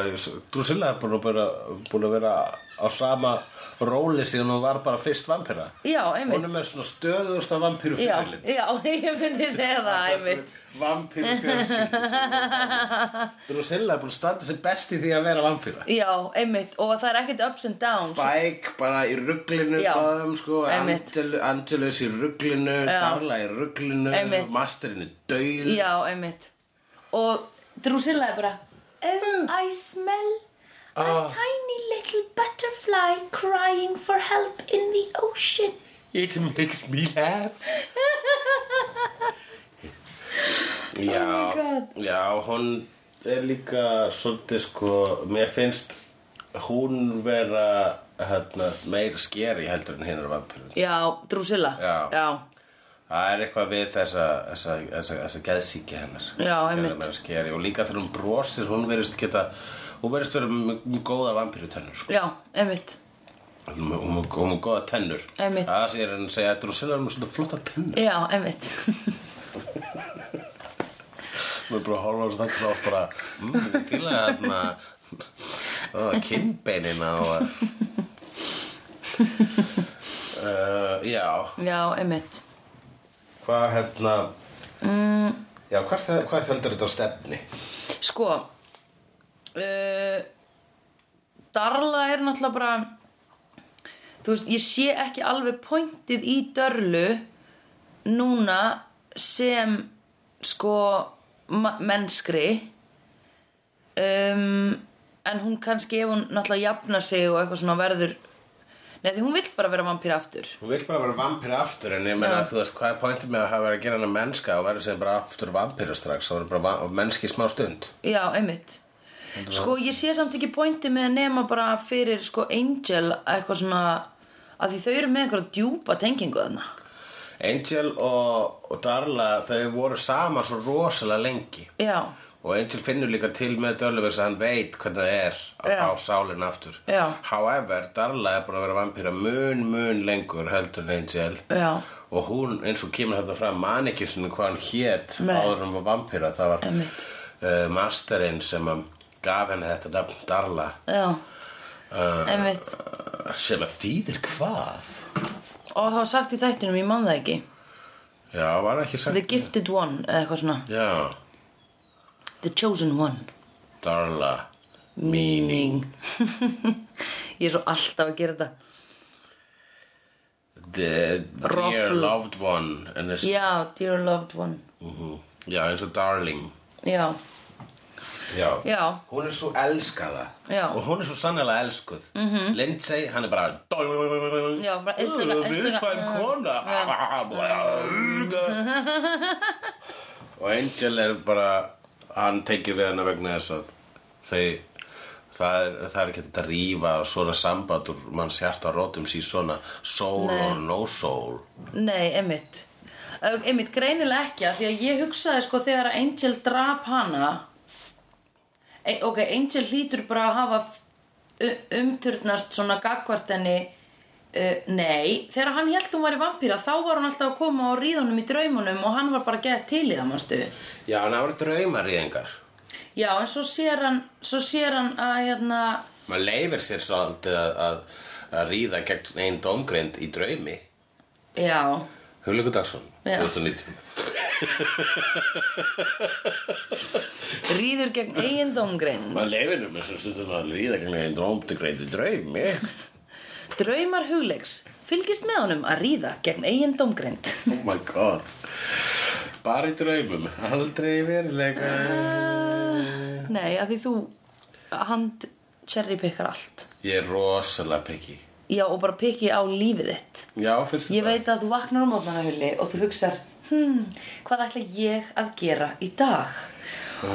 [SPEAKER 3] Drusilla er búin að vera, búin að vera á sama róli síðan hún var bara fyrst vampira
[SPEAKER 2] Já, einmitt
[SPEAKER 3] Hún er með svona stöðuðust af vampiru
[SPEAKER 2] Já,
[SPEAKER 3] fyrirlin
[SPEAKER 2] já, ég myndi segja það, einmitt
[SPEAKER 3] Vampiru Drusilla er búin að standa sér best í því að vera vampira
[SPEAKER 2] Já, einmitt, og það er ekkert ups and downs
[SPEAKER 3] Spike bara í rugglinu
[SPEAKER 2] Já,
[SPEAKER 3] báðum sko,
[SPEAKER 2] einmitt.
[SPEAKER 3] Angel, Angelus í rugglinu Darla í rugglinu
[SPEAKER 2] Einmitt.
[SPEAKER 3] Masterinn er döið
[SPEAKER 2] Já, einmitt Og Drusilla er bara Oh, I smell a
[SPEAKER 3] Ah,
[SPEAKER 2] tiny little butterfly crying for help in the ocean
[SPEAKER 3] It makes me laugh Já,
[SPEAKER 2] Oh God.
[SPEAKER 3] já, hún er líka svolítið sko, mér finnst hún vera hérna, meir skeri heldur en hinnar vampirinn
[SPEAKER 2] Já, Drusilla
[SPEAKER 3] Já.
[SPEAKER 2] Já,
[SPEAKER 3] Það er eitthvað við þessa, þessa, þessa, þessa geðsíki hennar
[SPEAKER 2] Já, einmitt.
[SPEAKER 3] Hennar skeri. Og líka þegar hún brosir Hún verist geta Hún verist vera með með góða vampirutennur sko.
[SPEAKER 2] já, einmitt
[SPEAKER 3] Hún er með hún er með góða tennur
[SPEAKER 2] Einmitt.
[SPEAKER 3] Það sé hann að segja að Drusilla er með svona flotta tennur
[SPEAKER 2] Já, einmitt
[SPEAKER 3] Hún er bara að horfa á þetta svo oft bara "Mm, Ég fíla þarna ó, Kinnbeinina og uh, Já
[SPEAKER 2] Já, einmitt
[SPEAKER 3] Hvað hérna mm. Já, hvert, hvert heldur þetta á stefni?
[SPEAKER 2] Sko uh, Darla er náttúrulega bara Þú veist, ég sé ekki alveg pointið í dörlu núna sem sko ma- mennskri um, en hún kannski ef hún náttúrulega jafna sig og eitthvað svona verður Nei, því hún vill bara vera vampír aftur
[SPEAKER 3] Hún vil bara vera vampíra aftur en ég
[SPEAKER 2] Já.
[SPEAKER 3] meina að þú veist hvað er pointið með að hafa verið að gera hana mennska og verið sér bara aftur vampíra strax og verið bara va- mennski í smá stund
[SPEAKER 2] Já, einmitt Sko, ég sé samt ekki pointi með að nema bara fyrir sko Angel eitthvað svona að því þau eru með einhverja djúpa tengingu þarna
[SPEAKER 3] Angel og, og Darla þau voru saman svo rosalega lengi
[SPEAKER 2] Já,
[SPEAKER 3] og Angel finnur líka til með Dörlu þess að hann veit hvernig það er að
[SPEAKER 2] Já.
[SPEAKER 3] fá sálinn aftur
[SPEAKER 2] Já.
[SPEAKER 3] However, Darla er búin að vera vampíra mun mun lengur heldur en Angel
[SPEAKER 2] já,
[SPEAKER 3] og hún eins og kemur hérna fram man ekki svona hvað hann hét
[SPEAKER 2] Nei.
[SPEAKER 3] áður en hún var vampíra það var
[SPEAKER 2] Einmitt.
[SPEAKER 3] uh, masterinn sem að gaf henni þetta nafn Darla
[SPEAKER 2] já
[SPEAKER 3] uh,
[SPEAKER 2] Einmitt
[SPEAKER 3] sem að þýðir hvað
[SPEAKER 2] Og það var sagt í þættinum, ég man það ekki
[SPEAKER 3] já, var ekki sagt
[SPEAKER 2] The Gifted One eða eitthvað svona
[SPEAKER 3] já,
[SPEAKER 2] The Chosen One
[SPEAKER 3] Darla meaning
[SPEAKER 2] Ég er svo alltaf að gera þetta
[SPEAKER 3] the dear
[SPEAKER 2] Ruffle.
[SPEAKER 3] loved one and this,
[SPEAKER 2] Já, Dear Loved One
[SPEAKER 3] Mhm. já, eins og darling
[SPEAKER 2] Já,
[SPEAKER 3] já.
[SPEAKER 2] Já.
[SPEAKER 3] hún er svo elskaða
[SPEAKER 2] Já. Mhm.
[SPEAKER 3] og hún er svo sannlega elskuð mm -hmm. Lindsay, hann er bara
[SPEAKER 2] Já, bara elska-
[SPEAKER 3] "Ú,
[SPEAKER 2] elska-
[SPEAKER 3] viðkvæm
[SPEAKER 2] uh, Já.
[SPEAKER 3] kona Ah, og Angel er bara hann tekir við hana vegna þess að þau Það er, það er ekki þetta að rífa svona samband úr manns hjarta rótum síð svona soul
[SPEAKER 2] Nei.
[SPEAKER 3] or no soul.
[SPEAKER 2] Nei, einmitt Ö, Einmitt, greinilega ekki að Því að ég hugsaði sko þegar að Angel drap hana e, Ok, Angel hlýtur bara að hafa u- umturnast svona gagvart henni Uh, nei, þegar hann held hún var í vampíra þá var hann alltaf að koma á ríðunum í draumunum og hann var bara að geða til í það, manstu
[SPEAKER 3] Já, en það voru draumar í engar.
[SPEAKER 2] Já, en svo sér hann, svo sér hann að hérna,
[SPEAKER 3] Maður leifir sér svolítið að, að, að ríða gegn einn dómgreind í draumi.
[SPEAKER 2] já
[SPEAKER 3] Hugleikur Dagsson,
[SPEAKER 2] Já.
[SPEAKER 3] 2019.
[SPEAKER 2] ríður gegn eigin dómgreind
[SPEAKER 3] Maður leifir nú með svo stundum að ríða gegn einn dómgreind í draumi.
[SPEAKER 2] Draumar hugleiks Fylgist með honum að ríða gegn eigin dómgreind
[SPEAKER 3] Oh my god. Bara í draumum, aldrei í veruleika.
[SPEAKER 2] Nei, að því þú hand cherrypickar allt
[SPEAKER 3] Ég er rosalega picky.
[SPEAKER 2] Já, og bara pikki á lífið þitt
[SPEAKER 3] Já, finnst
[SPEAKER 2] Ég
[SPEAKER 3] þetta?
[SPEAKER 2] veit að þú vaknar á mótnarhulli og þú hugsar Hmm, hvað ætla ég að gera í dag?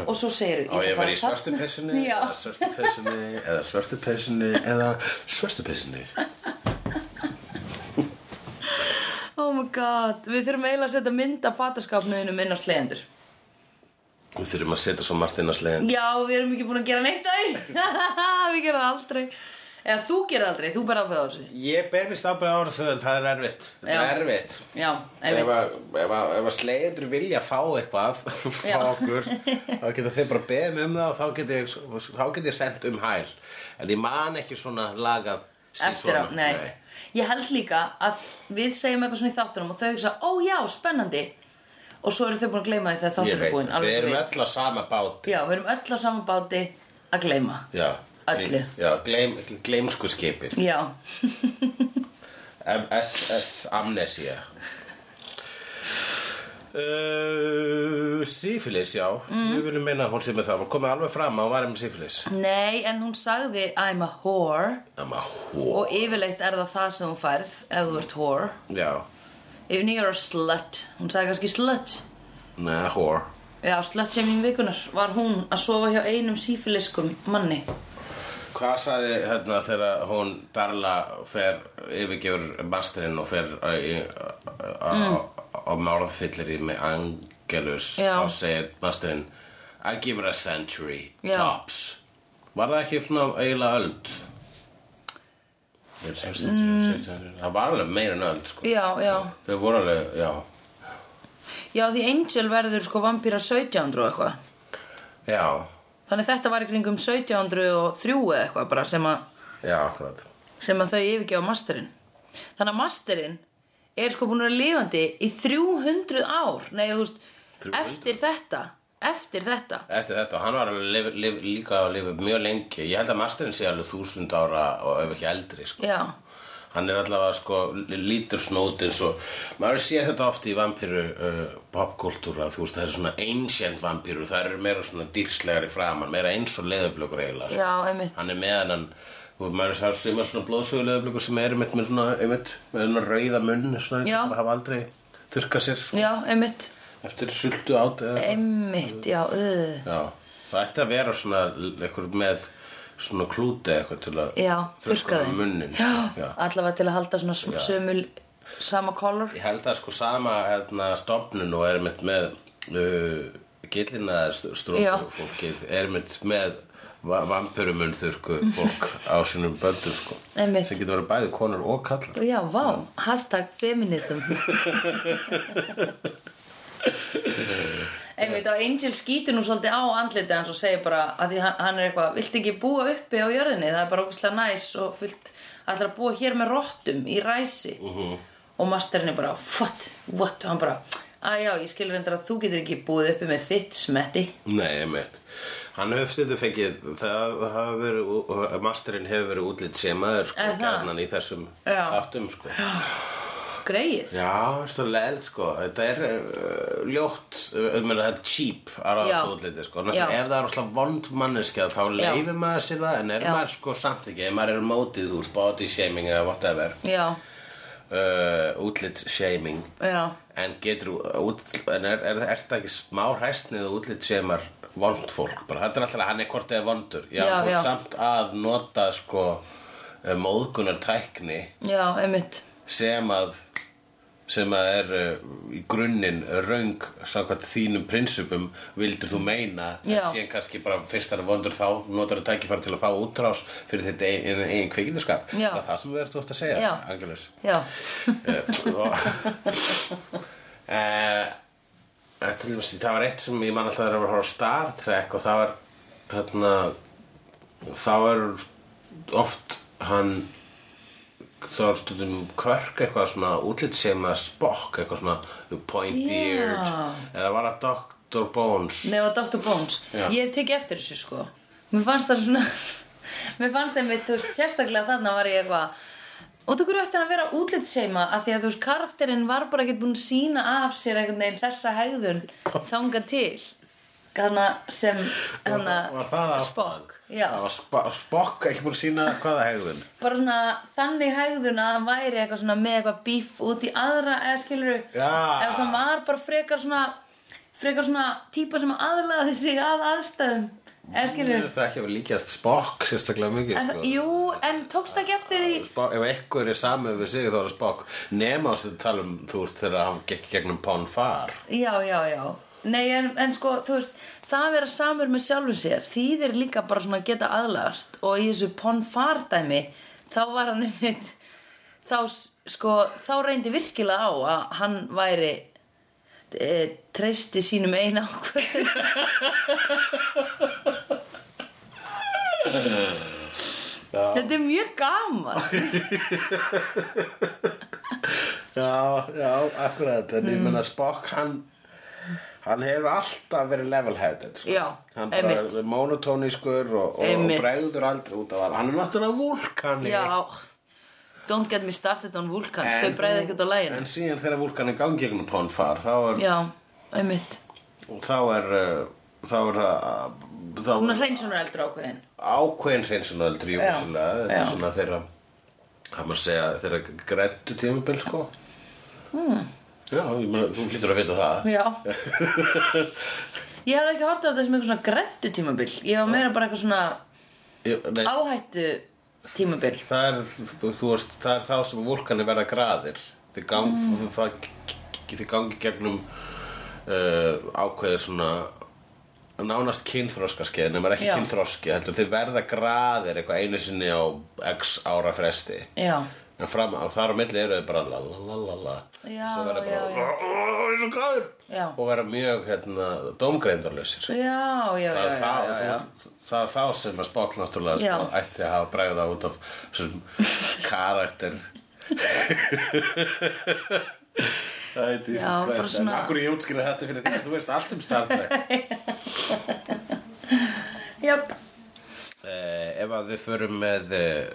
[SPEAKER 2] Og svo segir
[SPEAKER 3] Á ég var í svörstu peysunni
[SPEAKER 2] Já.
[SPEAKER 3] eða svörstu peysunni eða svörstu peysunni eða svörstu peysunni
[SPEAKER 2] Oh my god, við þurfum eiginlega að setja mynd af fataskapnuðinum inn á sleðendur
[SPEAKER 3] Við þurfum að setja svo margt inn á sleðin
[SPEAKER 2] Já, við erum ekki búin að gera neitt að Við gerum það aldrei Eða þú gerir það aldrei, þú berð ákveð á þessu
[SPEAKER 3] Ég ber mér stábæð ára þau en það er erfitt Það er
[SPEAKER 2] Já.
[SPEAKER 3] erfitt
[SPEAKER 2] Já,
[SPEAKER 3] Ef
[SPEAKER 2] einmitt
[SPEAKER 3] að, ef að, ef að sleiðendur vilja fá eitthvað
[SPEAKER 2] Já.
[SPEAKER 3] fá okkur, þá geta þeir bara beðið mig um það og þá get ég, þá get ég sendt um hæl en ég man ekki svona lagað sí
[SPEAKER 2] eftir á,
[SPEAKER 3] svona.
[SPEAKER 2] nei. Ég held líka að við segjum eitthvað svona í þáttunum og þau hugsa, ó já, spennandi og svo eru þau búin að gleyma því þegar
[SPEAKER 3] Ég
[SPEAKER 2] þáttunum er
[SPEAKER 3] veit,
[SPEAKER 2] búin
[SPEAKER 3] við
[SPEAKER 2] alveg
[SPEAKER 3] erum
[SPEAKER 2] við.
[SPEAKER 3] öll á sama bát
[SPEAKER 2] Já, við erum öll á sama báti að gleyma
[SPEAKER 3] Já,
[SPEAKER 2] Öllu.
[SPEAKER 3] Já, gleym, gleymsku skipið
[SPEAKER 2] Já,
[SPEAKER 3] MS amnesia uh, Sífilis, já
[SPEAKER 2] Mm.
[SPEAKER 3] Við viljum meina að hún sé með það Hún komið alveg fram að hún var um sífilis
[SPEAKER 2] nei, en hún sagði I'm a whore
[SPEAKER 3] I'm a whore
[SPEAKER 2] og yfirleitt er það það sem hún færð ef þú ert whore
[SPEAKER 3] Já,
[SPEAKER 2] If you're a slut, hún sagði kannski slut
[SPEAKER 3] neða whore
[SPEAKER 2] Já, slut sem mín vikunar var hún að sofa hjá einum sífiliskum manni
[SPEAKER 3] Hvað sagði hérna þegar hún Darla fer yfirgefur masterinn og fer á- í- uh, á
[SPEAKER 2] Mm.
[SPEAKER 3] á málfyllir í með Angelus
[SPEAKER 2] Já.
[SPEAKER 3] þá segir masterinn I give her a century,
[SPEAKER 2] Já.
[SPEAKER 3] tops Var það ekki svona eiginlega öld? Mm. Það var alveg meira en öld sko.
[SPEAKER 2] Já, já
[SPEAKER 3] Þau voru alveg, já
[SPEAKER 2] Já, því Angel verður sko vampíra 1700 og eitthvað
[SPEAKER 3] Já,
[SPEAKER 2] Þannig þetta var í kringum 1703 eða eitthvað bara sem að,
[SPEAKER 3] já, akkurat
[SPEAKER 2] sem að þau yfirgefa masterinn. Þannig að masterinn er sko búin að vera lifandi í 300 ár, nei þú veist,
[SPEAKER 3] 300?
[SPEAKER 2] eftir þetta, eftir þetta.
[SPEAKER 3] Eftir þetta, og hann var alveg lif, lif, líka að lifa mjög lengi Ég held að masterinn sé alveg þúsund ára og ef ekki eldri sko.
[SPEAKER 2] Já,
[SPEAKER 3] Hann er allavega sko lítur snót eins og maður sé þetta oft í vampíru uh, popkultúra þú veist það er svona ancient vampíru það eru meira svona dýrslegari framan meira eins og leðublökur eiginlega sko.
[SPEAKER 2] já, einmitt.
[SPEAKER 3] hann er meðan hann og maður sá sumar svona blóðsögu leðublökur sem eru með, með svona, einmitt, með svona rauða munn svona eins
[SPEAKER 2] Já.
[SPEAKER 3] og bara hafa aldrei þurka sér sko,
[SPEAKER 2] Já, einmitt,
[SPEAKER 3] eftir sultu át eða
[SPEAKER 2] einmitt, já, uh, öð.
[SPEAKER 3] Já, það ætti að vera svona einhver með svona klúti eða eitthvað til að
[SPEAKER 2] Já,
[SPEAKER 3] þurrka
[SPEAKER 2] þurrka
[SPEAKER 3] það
[SPEAKER 2] þeim.
[SPEAKER 3] munnin sko.
[SPEAKER 2] Já,
[SPEAKER 3] Já.
[SPEAKER 2] allavega til að halda svona sm- sömul, sama kolor.
[SPEAKER 3] Ég held að sko sama hérna, stofnun og er mitt með uh, gillina
[SPEAKER 2] Já. Mhm.
[SPEAKER 3] stróku fólkið er mitt með va vampurumun þurrku fólk á sínum böndum sko
[SPEAKER 2] Einmitt.
[SPEAKER 3] sem getur verið bæði konur og kallar
[SPEAKER 2] Já, vá, hashtag feminism Einmitt og Angel skýtur nú svolítið á andlitið hans og segir bara að því hann- hann er eitthvað Vilt ekki búa uppi á jörðinni? Það er bara ógæslega næs og fullt ætlar að búa hér með rottum í ræsi -huh. Og masterinn er bara, what, what, og hann bara Að já, ég skilur reyndar að þú getur ekki búið uppi með þitt smetti
[SPEAKER 3] Nei, einmitt Hann hefur stundum fengið það hafa verið masterinn hefur verið útlýtt semaður sko
[SPEAKER 2] Er það?
[SPEAKER 3] gæðnan í þessum
[SPEAKER 2] Já.
[SPEAKER 3] áttum sko Já
[SPEAKER 2] Greið
[SPEAKER 3] Já, þetta er leðilegt sko Þetta er uh, ljótt uh, um, Þetta er cheap að ráða
[SPEAKER 2] Já.
[SPEAKER 3] svo útliti sko. Náttúrulega,
[SPEAKER 2] Já.
[SPEAKER 3] Ef það er alltaf vond manneskja þá leifir maður sér það en er
[SPEAKER 2] Já.
[SPEAKER 3] maður sko samt ekki ef maður er mótið úr body shaming eða whatever
[SPEAKER 2] Já,
[SPEAKER 3] uh, útlit shaming eh,
[SPEAKER 2] já
[SPEAKER 3] en getur út, en er, er, er, er það ekki smá hræstnið útlit shamar vond fólk bara, þetta er alltaf hann er hvort eða vondur já,
[SPEAKER 2] Já,
[SPEAKER 3] já,
[SPEAKER 2] já.
[SPEAKER 3] samt að nota sko móðgunar tækni
[SPEAKER 2] já, einmitt
[SPEAKER 3] sem að sem að er uh, í grunninn raung samkvæmt þínum prinsupum vildur þú meina en
[SPEAKER 2] Já.
[SPEAKER 3] síðan kannski bara fyrst hann er vondur þá notar það tækifæri til að fá útrás fyrir þetta eigin, eigin kvikindaskap
[SPEAKER 2] Já.
[SPEAKER 3] það er það sem við erum þú átt að segja
[SPEAKER 2] Já.
[SPEAKER 3] Angelus
[SPEAKER 2] já,
[SPEAKER 3] uh, til, dæmis, það var eitt sem ég man alltaf þegar ég var að horfa á Star Trek og það var hérna, þá er oft hann þá er stundum körk eitthvað svona útlit sem að spokk eitthvað svona point-eared
[SPEAKER 2] Já.
[SPEAKER 3] eða var það Dr. Bones
[SPEAKER 2] Nei, og Dr. Bones
[SPEAKER 3] Já.
[SPEAKER 2] Ég hef tekið eftir þessu sko Mér fannst það svona Mér fannst þeim við, þú veist, sérstaklega þarna var ég eitthvað Út okkur ætti hann að vera útlitsseima af því að þú veist, karakterinn var bara ekkert búin að sína af sér einhvern veginn þessa hegðun þanga til Þarna sem, þarna
[SPEAKER 3] var það að-
[SPEAKER 2] Spock Já,
[SPEAKER 3] það var spa, spokk ekki búin að sína hvaða hegðun
[SPEAKER 2] bara svona þannig hegðun að hann væri eitthvað svona með eitthvað bíf út í aðra eða skilur
[SPEAKER 3] Já.
[SPEAKER 2] eða svona var bara frekar svona frekar svona típa sem aðlaði sig að aðstæðum eða
[SPEAKER 3] Mér
[SPEAKER 2] skilur
[SPEAKER 3] finnst það ekki að vera líkjast spokk sérstaklega mikið
[SPEAKER 2] en,
[SPEAKER 3] sko.
[SPEAKER 2] jú, en tókst ekki eftir því
[SPEAKER 3] Spock, ef einhver er samið við sig þá er það Spock nema þess að tala um þú veist þegar hann gekk í gegnum Pán Far
[SPEAKER 2] já, já, já Nei, en, en sko, þú veist, það að vera samur með sjálfum sér, þýðir líka bara svona að geta aðlagast og í þessu ponfardæmi, þá var hann einmitt, þá s- sko, þá reyndi virkilega á að hann væri e, treysti sínum eina ákvörðum Þetta er mjög gaman
[SPEAKER 3] Já, já, akkurat en
[SPEAKER 2] Mm.
[SPEAKER 3] ég menna Spock hann hann hefur alltaf verið level-headed sko.
[SPEAKER 2] Já,
[SPEAKER 3] hann bara
[SPEAKER 2] einmitt.
[SPEAKER 3] er monotónískur og, og, og
[SPEAKER 2] Einmitt.
[SPEAKER 3] bregður aldrei út af hann hann er náttúrulega vulkani
[SPEAKER 2] Já, don't get me started on vulkans, þau bræði ekkert á læginu
[SPEAKER 3] en síðan þegar vulkan er gangi gegnum Pán Far þá er,
[SPEAKER 2] Já, einmitt
[SPEAKER 3] þá er uh, þá er það þá
[SPEAKER 2] Hún
[SPEAKER 3] er
[SPEAKER 2] er hreinsunar eldur ákveðin
[SPEAKER 3] ákveðin hreinsunaldri jú,
[SPEAKER 2] Já,
[SPEAKER 3] vissulega. þetta
[SPEAKER 2] já.
[SPEAKER 3] er svona þeirra það maður segja þeirra grættu tímabil sko mm. já, ég meina, þú hlýtur að vita það
[SPEAKER 2] Hmm. Já Ég hafði ekki hort á þetta sem eitthvað svona grættu tímabil Ég var meira bara eitthvað svona
[SPEAKER 3] ég, nei,
[SPEAKER 2] áhættu tímabil
[SPEAKER 3] það, er, þú, þú veist, það er þá sem vulkanir verða graðir þið gang,
[SPEAKER 2] Hmm.
[SPEAKER 3] mm. það, þið gangi gegnum uh, ákveðið svona nánast kynþróskaskeið nema er ekki
[SPEAKER 2] Já.
[SPEAKER 3] kynþróski heldur þið verða graðir eitthvað einu sinni á x ára fresti
[SPEAKER 2] Já,
[SPEAKER 3] En fram, og þar á milli eru þau bara la la la la la
[SPEAKER 2] Já,
[SPEAKER 3] Svo verða
[SPEAKER 2] já,
[SPEAKER 3] bara
[SPEAKER 2] já.
[SPEAKER 3] "Ó, ég er svo gráður
[SPEAKER 2] Já.
[SPEAKER 3] Og verða mjög hérna, dómgreindarlausir
[SPEAKER 2] já, já,
[SPEAKER 3] Það
[SPEAKER 2] já,
[SPEAKER 3] er
[SPEAKER 2] já, já, já.
[SPEAKER 3] það- þú- það er þá sem að spák náttúrulega
[SPEAKER 2] Já.
[SPEAKER 3] sko, ætti að hafa bræða út af þessum karakter Það er Jesus
[SPEAKER 2] Já, bara
[SPEAKER 3] Christ En
[SPEAKER 2] svona-
[SPEAKER 3] akkur ég útskýra þetta fyrir því að þú veist allt um Star Trek
[SPEAKER 2] Jöp.
[SPEAKER 3] Eh, ef að við förum með eh,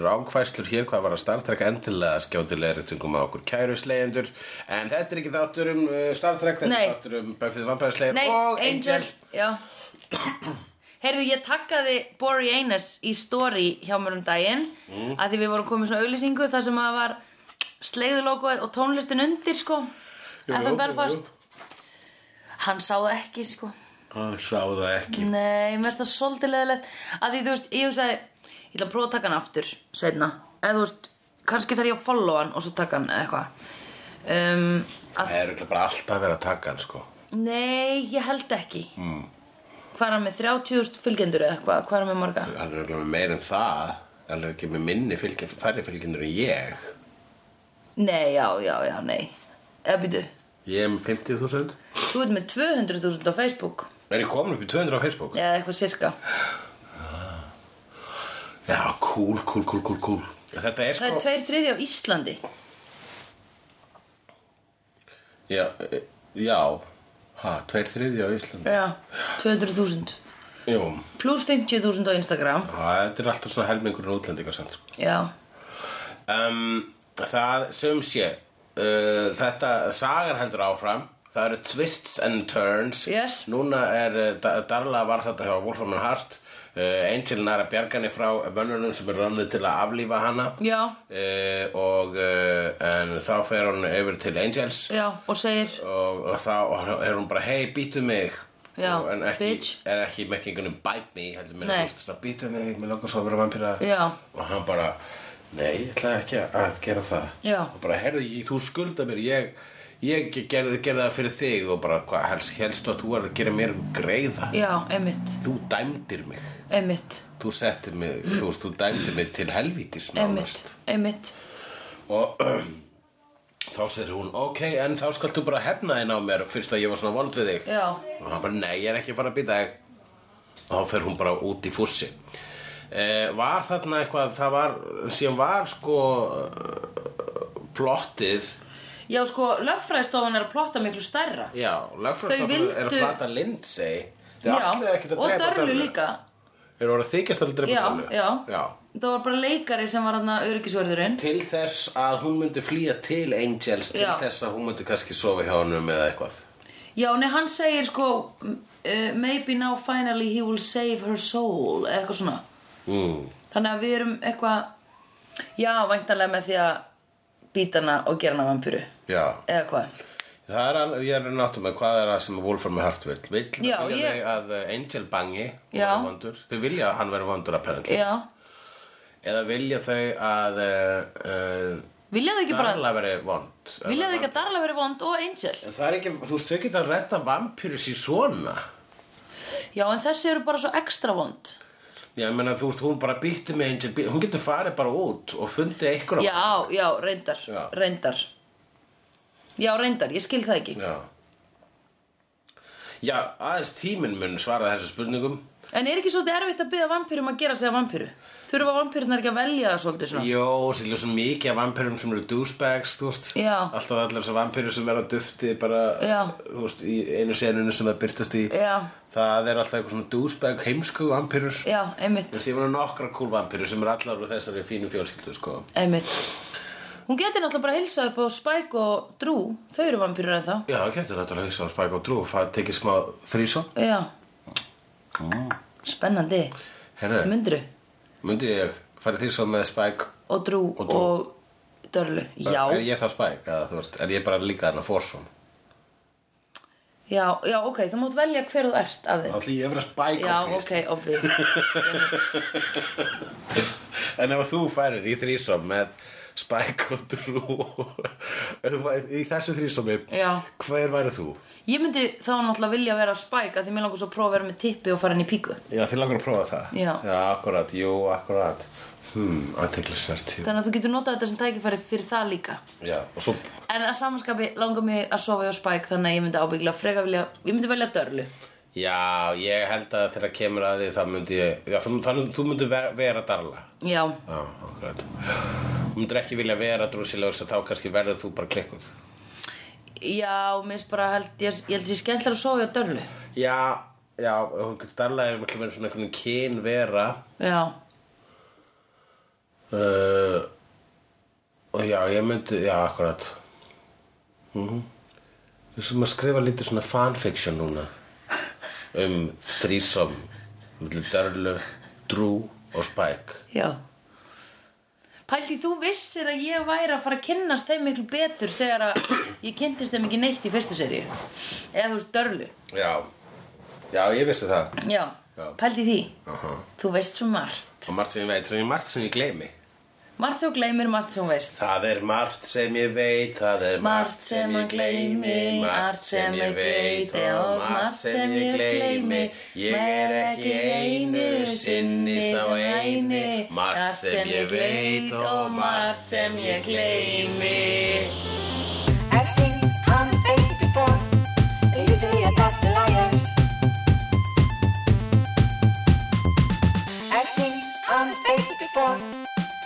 [SPEAKER 3] rángfæslur hér hvað var að Star Trek endilega skjótilegri tungum á okkur kæru slegjendur en þetta er ekki þáttur um uh, Star Trek þetta
[SPEAKER 2] Nei.
[SPEAKER 3] er þáttur um Buffy the Vampire Slayer
[SPEAKER 2] Nei,
[SPEAKER 3] og
[SPEAKER 2] Angel, Já Heyrðu, ég takkaði Bori Einars í story hjá mér um daginn mm. að því við vorum komið svona auglýsingu þar sem að var slegðulogoð og tónlistin undir sko FM Belfast Hann sá það ekki sko
[SPEAKER 3] og sá það ekki
[SPEAKER 2] Nei, mér finnst það svolítið leðilegt að því, þú veist, ég hugsaði ég ætla að prófa að taka hann aftur, seinna eða þú veist, kannski þarf ég að follow hann og svo taka hann eða eitthvað um, að,
[SPEAKER 3] það er örugglega bara alltaf verið að taka hann sko
[SPEAKER 2] Nei, ég held ekki mm. Hvað er hann með 30.000 fylgjendur eða eitthvað, hvað er hann með marga?
[SPEAKER 3] hann er örugglega með meir en það hann er ekki með minni fylgja, færri fylgjinur en ég
[SPEAKER 2] Nei, já, já, já, nei Eða býtu,
[SPEAKER 3] ég er með 50.000
[SPEAKER 2] þú veit með 200.000 á Facebook
[SPEAKER 3] er ég komin upp í 200 á Facebook
[SPEAKER 2] eða eitthvað sirka
[SPEAKER 3] já, cool, cool, cool, cool, cool þetta
[SPEAKER 2] Það
[SPEAKER 3] er sko
[SPEAKER 2] er tveir þriði á Íslandi
[SPEAKER 3] Já, e, já Ha, tveir þriðja á Íslandi
[SPEAKER 2] Já, 200.000
[SPEAKER 3] Jú,
[SPEAKER 2] Plus 50.000 á Instagram
[SPEAKER 3] ha, þetta er alltaf svona helmingurinn útlendinga sko. sent
[SPEAKER 2] Já,
[SPEAKER 3] um, Það sem sé uh, Þetta sagan hendur áfram Það eru twists and turns
[SPEAKER 2] Yes.
[SPEAKER 3] Núna er uh, Da- Darla var þetta hjá Wolfram and Hart uh, Angel nær að bjarga henni frá mönnunum sem er rannið til að aflífa hana
[SPEAKER 2] já,
[SPEAKER 3] uh, og uh, en þá fer hún yfir til Angels
[SPEAKER 2] já, og segir
[SPEAKER 3] og, og þá er hún bara hei, býtu mig
[SPEAKER 2] Já,
[SPEAKER 3] Og- en ekki,
[SPEAKER 2] bitch.
[SPEAKER 3] er ekki make gonna bite me heldur mér að
[SPEAKER 2] Nei.
[SPEAKER 3] þú veist svona bita mig mér langar svo að vera vampíra
[SPEAKER 2] Já.
[SPEAKER 3] og hann bara nei, ég ætla ekki að gera það
[SPEAKER 2] Já.
[SPEAKER 3] og bara herðu, ég- þú skulda mér ég, ég gerði, gerði það fyrir þig og bara hvað helst, helst að þú var að gera mér greiða
[SPEAKER 2] já, einmitt
[SPEAKER 3] þú dæmdir mig
[SPEAKER 2] einmitt,
[SPEAKER 3] þú settir mig, þú veist, þú dæmdir mig til helvítis
[SPEAKER 2] einmitt, einmitt
[SPEAKER 3] og þá segir hún, ok, en þá skalt þú bara hefna þinn á mér fyrst að ég var svona vond við þig
[SPEAKER 2] Já.
[SPEAKER 3] og hann bara, nei, ég er ekki að fara að býta þig og þá fer hún bara út í fússi eh, var þarna eitthvað það var, sem var sko eh, plottið
[SPEAKER 2] já, sko, lögfræðistofan er að plotta miklu stærra
[SPEAKER 3] já, lagfræðstofnun
[SPEAKER 2] vildu-
[SPEAKER 3] er að plata Lindsay þeir
[SPEAKER 2] já,
[SPEAKER 3] ætluðu ekkert að
[SPEAKER 2] og
[SPEAKER 3] drepa
[SPEAKER 2] dörlu líka
[SPEAKER 3] þeir voru að þykjast að drepa
[SPEAKER 2] já,
[SPEAKER 3] Dörlu
[SPEAKER 2] já,
[SPEAKER 3] já
[SPEAKER 2] það var bara leikari sem var hann að öryggisvörðurinn
[SPEAKER 3] til þess að hún myndi flýja til Angels til
[SPEAKER 2] Já.
[SPEAKER 3] þess að hún myndi kannski sofa hjá honum eða eitthvað
[SPEAKER 2] já, nei, hann segir sko uh, maybe now finally he will save her soul eða eitthvað svona
[SPEAKER 3] mm.
[SPEAKER 2] þannig að við erum eitthvað já, væntanlega með því að býta hana og gera hana vampíru
[SPEAKER 3] já
[SPEAKER 2] eða hvað
[SPEAKER 3] það er, al- ég er náttúrulega með hvað er það sem Wolfram Hart vill vill
[SPEAKER 2] Já,
[SPEAKER 3] vilja
[SPEAKER 2] ég-
[SPEAKER 3] þau að eh, Angel bangi og
[SPEAKER 2] Já.
[SPEAKER 3] verði vondur. þau vilja að hann verði vondur apparently
[SPEAKER 2] já,
[SPEAKER 3] eða vilja þau að uh, uh,
[SPEAKER 2] viljaðu ekki bara
[SPEAKER 3] Darla verði vond
[SPEAKER 2] viljaðu ekki að Darla veri vond og Angel
[SPEAKER 3] En það er ekki, þú veist, þau geta að redda vampýrus í svona.
[SPEAKER 2] já, en þessi eru bara svo ekstra vond
[SPEAKER 3] Já, ég meina, þú veist, hún bara býtti með Angel, bý- hún getur farið bara út og fundið einhverjum.
[SPEAKER 2] já, já, reyndar
[SPEAKER 3] Já.
[SPEAKER 2] reyndar já, reyndar, ég skil það ekki
[SPEAKER 3] Já Já, aðeins tíminn mun svara þessu spurningum
[SPEAKER 2] en er ekki svolítið erfitt að byrja vampýrum að gera sig að vampýru þurfa vampýrunar ekki að velja það svolítið svona
[SPEAKER 3] Jó, sér ljósum mikið af vampirum sem eru douchebags, þú veist
[SPEAKER 2] Já.
[SPEAKER 3] Alltaf allar þessar vampirum sem verða dufti bara,
[SPEAKER 2] Já.
[SPEAKER 3] þú veist, í einu senunu sem það byrtast í
[SPEAKER 2] Já.
[SPEAKER 3] Það er alltaf eitthvað svona douchebag heimsku vampirur
[SPEAKER 2] já, einmitt,
[SPEAKER 3] Þessi eru nokkra kúl vampirur sem eru allar úr þessari fínu fjölskyldu, sko
[SPEAKER 2] einmitt hún getur náttúrulega bara að hilsa upp á Spike og Drew þau eru vampýrur en þá
[SPEAKER 3] Já, það getur þetta að hugsa á Spike og Drew og fara- tekið smá þrísó
[SPEAKER 2] já,
[SPEAKER 3] mm.
[SPEAKER 2] spennandi
[SPEAKER 3] Herðu,
[SPEAKER 2] myndru
[SPEAKER 3] myndi ég farið þrísó með Spike
[SPEAKER 2] og Drew
[SPEAKER 3] Og
[SPEAKER 2] og,
[SPEAKER 3] Drew.
[SPEAKER 2] Dörlu já,
[SPEAKER 3] Er ég þá Spike, eða þú veist, er ég bara líka þarna Forsson
[SPEAKER 2] já, já, ok, þú mátt velja hver þú ert af þeim
[SPEAKER 3] Þá ætlum ég að vera spæk
[SPEAKER 2] já, ok, obvið
[SPEAKER 3] En ef þú færir í þrísom með spæk og drú ef þú værir í þessu þrísomi
[SPEAKER 2] Já.
[SPEAKER 3] hver væri þú?
[SPEAKER 2] Ég myndi þá náttúrulega vilja vera spæk að því mér langar svo að prófa að vera með tippi og fara inn í píku
[SPEAKER 3] Já, þið langar að prófa það
[SPEAKER 2] Já.
[SPEAKER 3] Já, akkurat, jú, akkurat Hmm, aðteglisvert jú.
[SPEAKER 2] Þannig að þú getur notað þetta sem tækifæri fyrir það líka
[SPEAKER 3] Já, og svo
[SPEAKER 2] En að samanskapi langar mig að sofa hjá spæk þannig að ég myndi ábyggla freka vilja Ég myndi velja dörlu
[SPEAKER 3] Já, ég held að þegar kemur að því það myndi ég Já, þú, þannig, þú myndi vera, vera darla
[SPEAKER 2] Já,
[SPEAKER 3] Já, akkurat Þú myndir ekki vilja vera drúsilegur þá kannski verður þú bara klikkuð
[SPEAKER 2] já, mér finnst bara held ég, ég held ég skemmtilega að sofa hjá dörlu
[SPEAKER 3] Já, já, darla er miklu meira svona einhvern kyn vera
[SPEAKER 2] Já,
[SPEAKER 3] Uh, og já, ég myndi, já, akkurat mm Við sem að skrifa lítið svona fanfiction núna um þrísom milli Dörlu, Drú og Spike
[SPEAKER 2] já Pældi þú vissir að ég væri að fara að kynnast þeim miklu betur þegar að ég kynntist þeim ekki neitt í fyrstu seríu Eða þú veist dörlu
[SPEAKER 3] Já, já, ég vissi það
[SPEAKER 2] Já,
[SPEAKER 3] Já.
[SPEAKER 2] pældi því
[SPEAKER 3] Aha.
[SPEAKER 2] Þú veist svo margt
[SPEAKER 3] Og margt sem ég veit, sem ég margt sem ég gleymi
[SPEAKER 2] Margt sem hún gleymir, margt sem hún veist
[SPEAKER 3] Það er margt sem ég veit, það er
[SPEAKER 2] Margt sem hann gleymi, margt sem ég veit og margt sem ég gleymi Ég er ekki einu sinni sá eini Margt sem ég veit og margt sem ég gleymi
[SPEAKER 4] I've seen honest faces before. They're usually a pass to liars. I've seen honest faces before.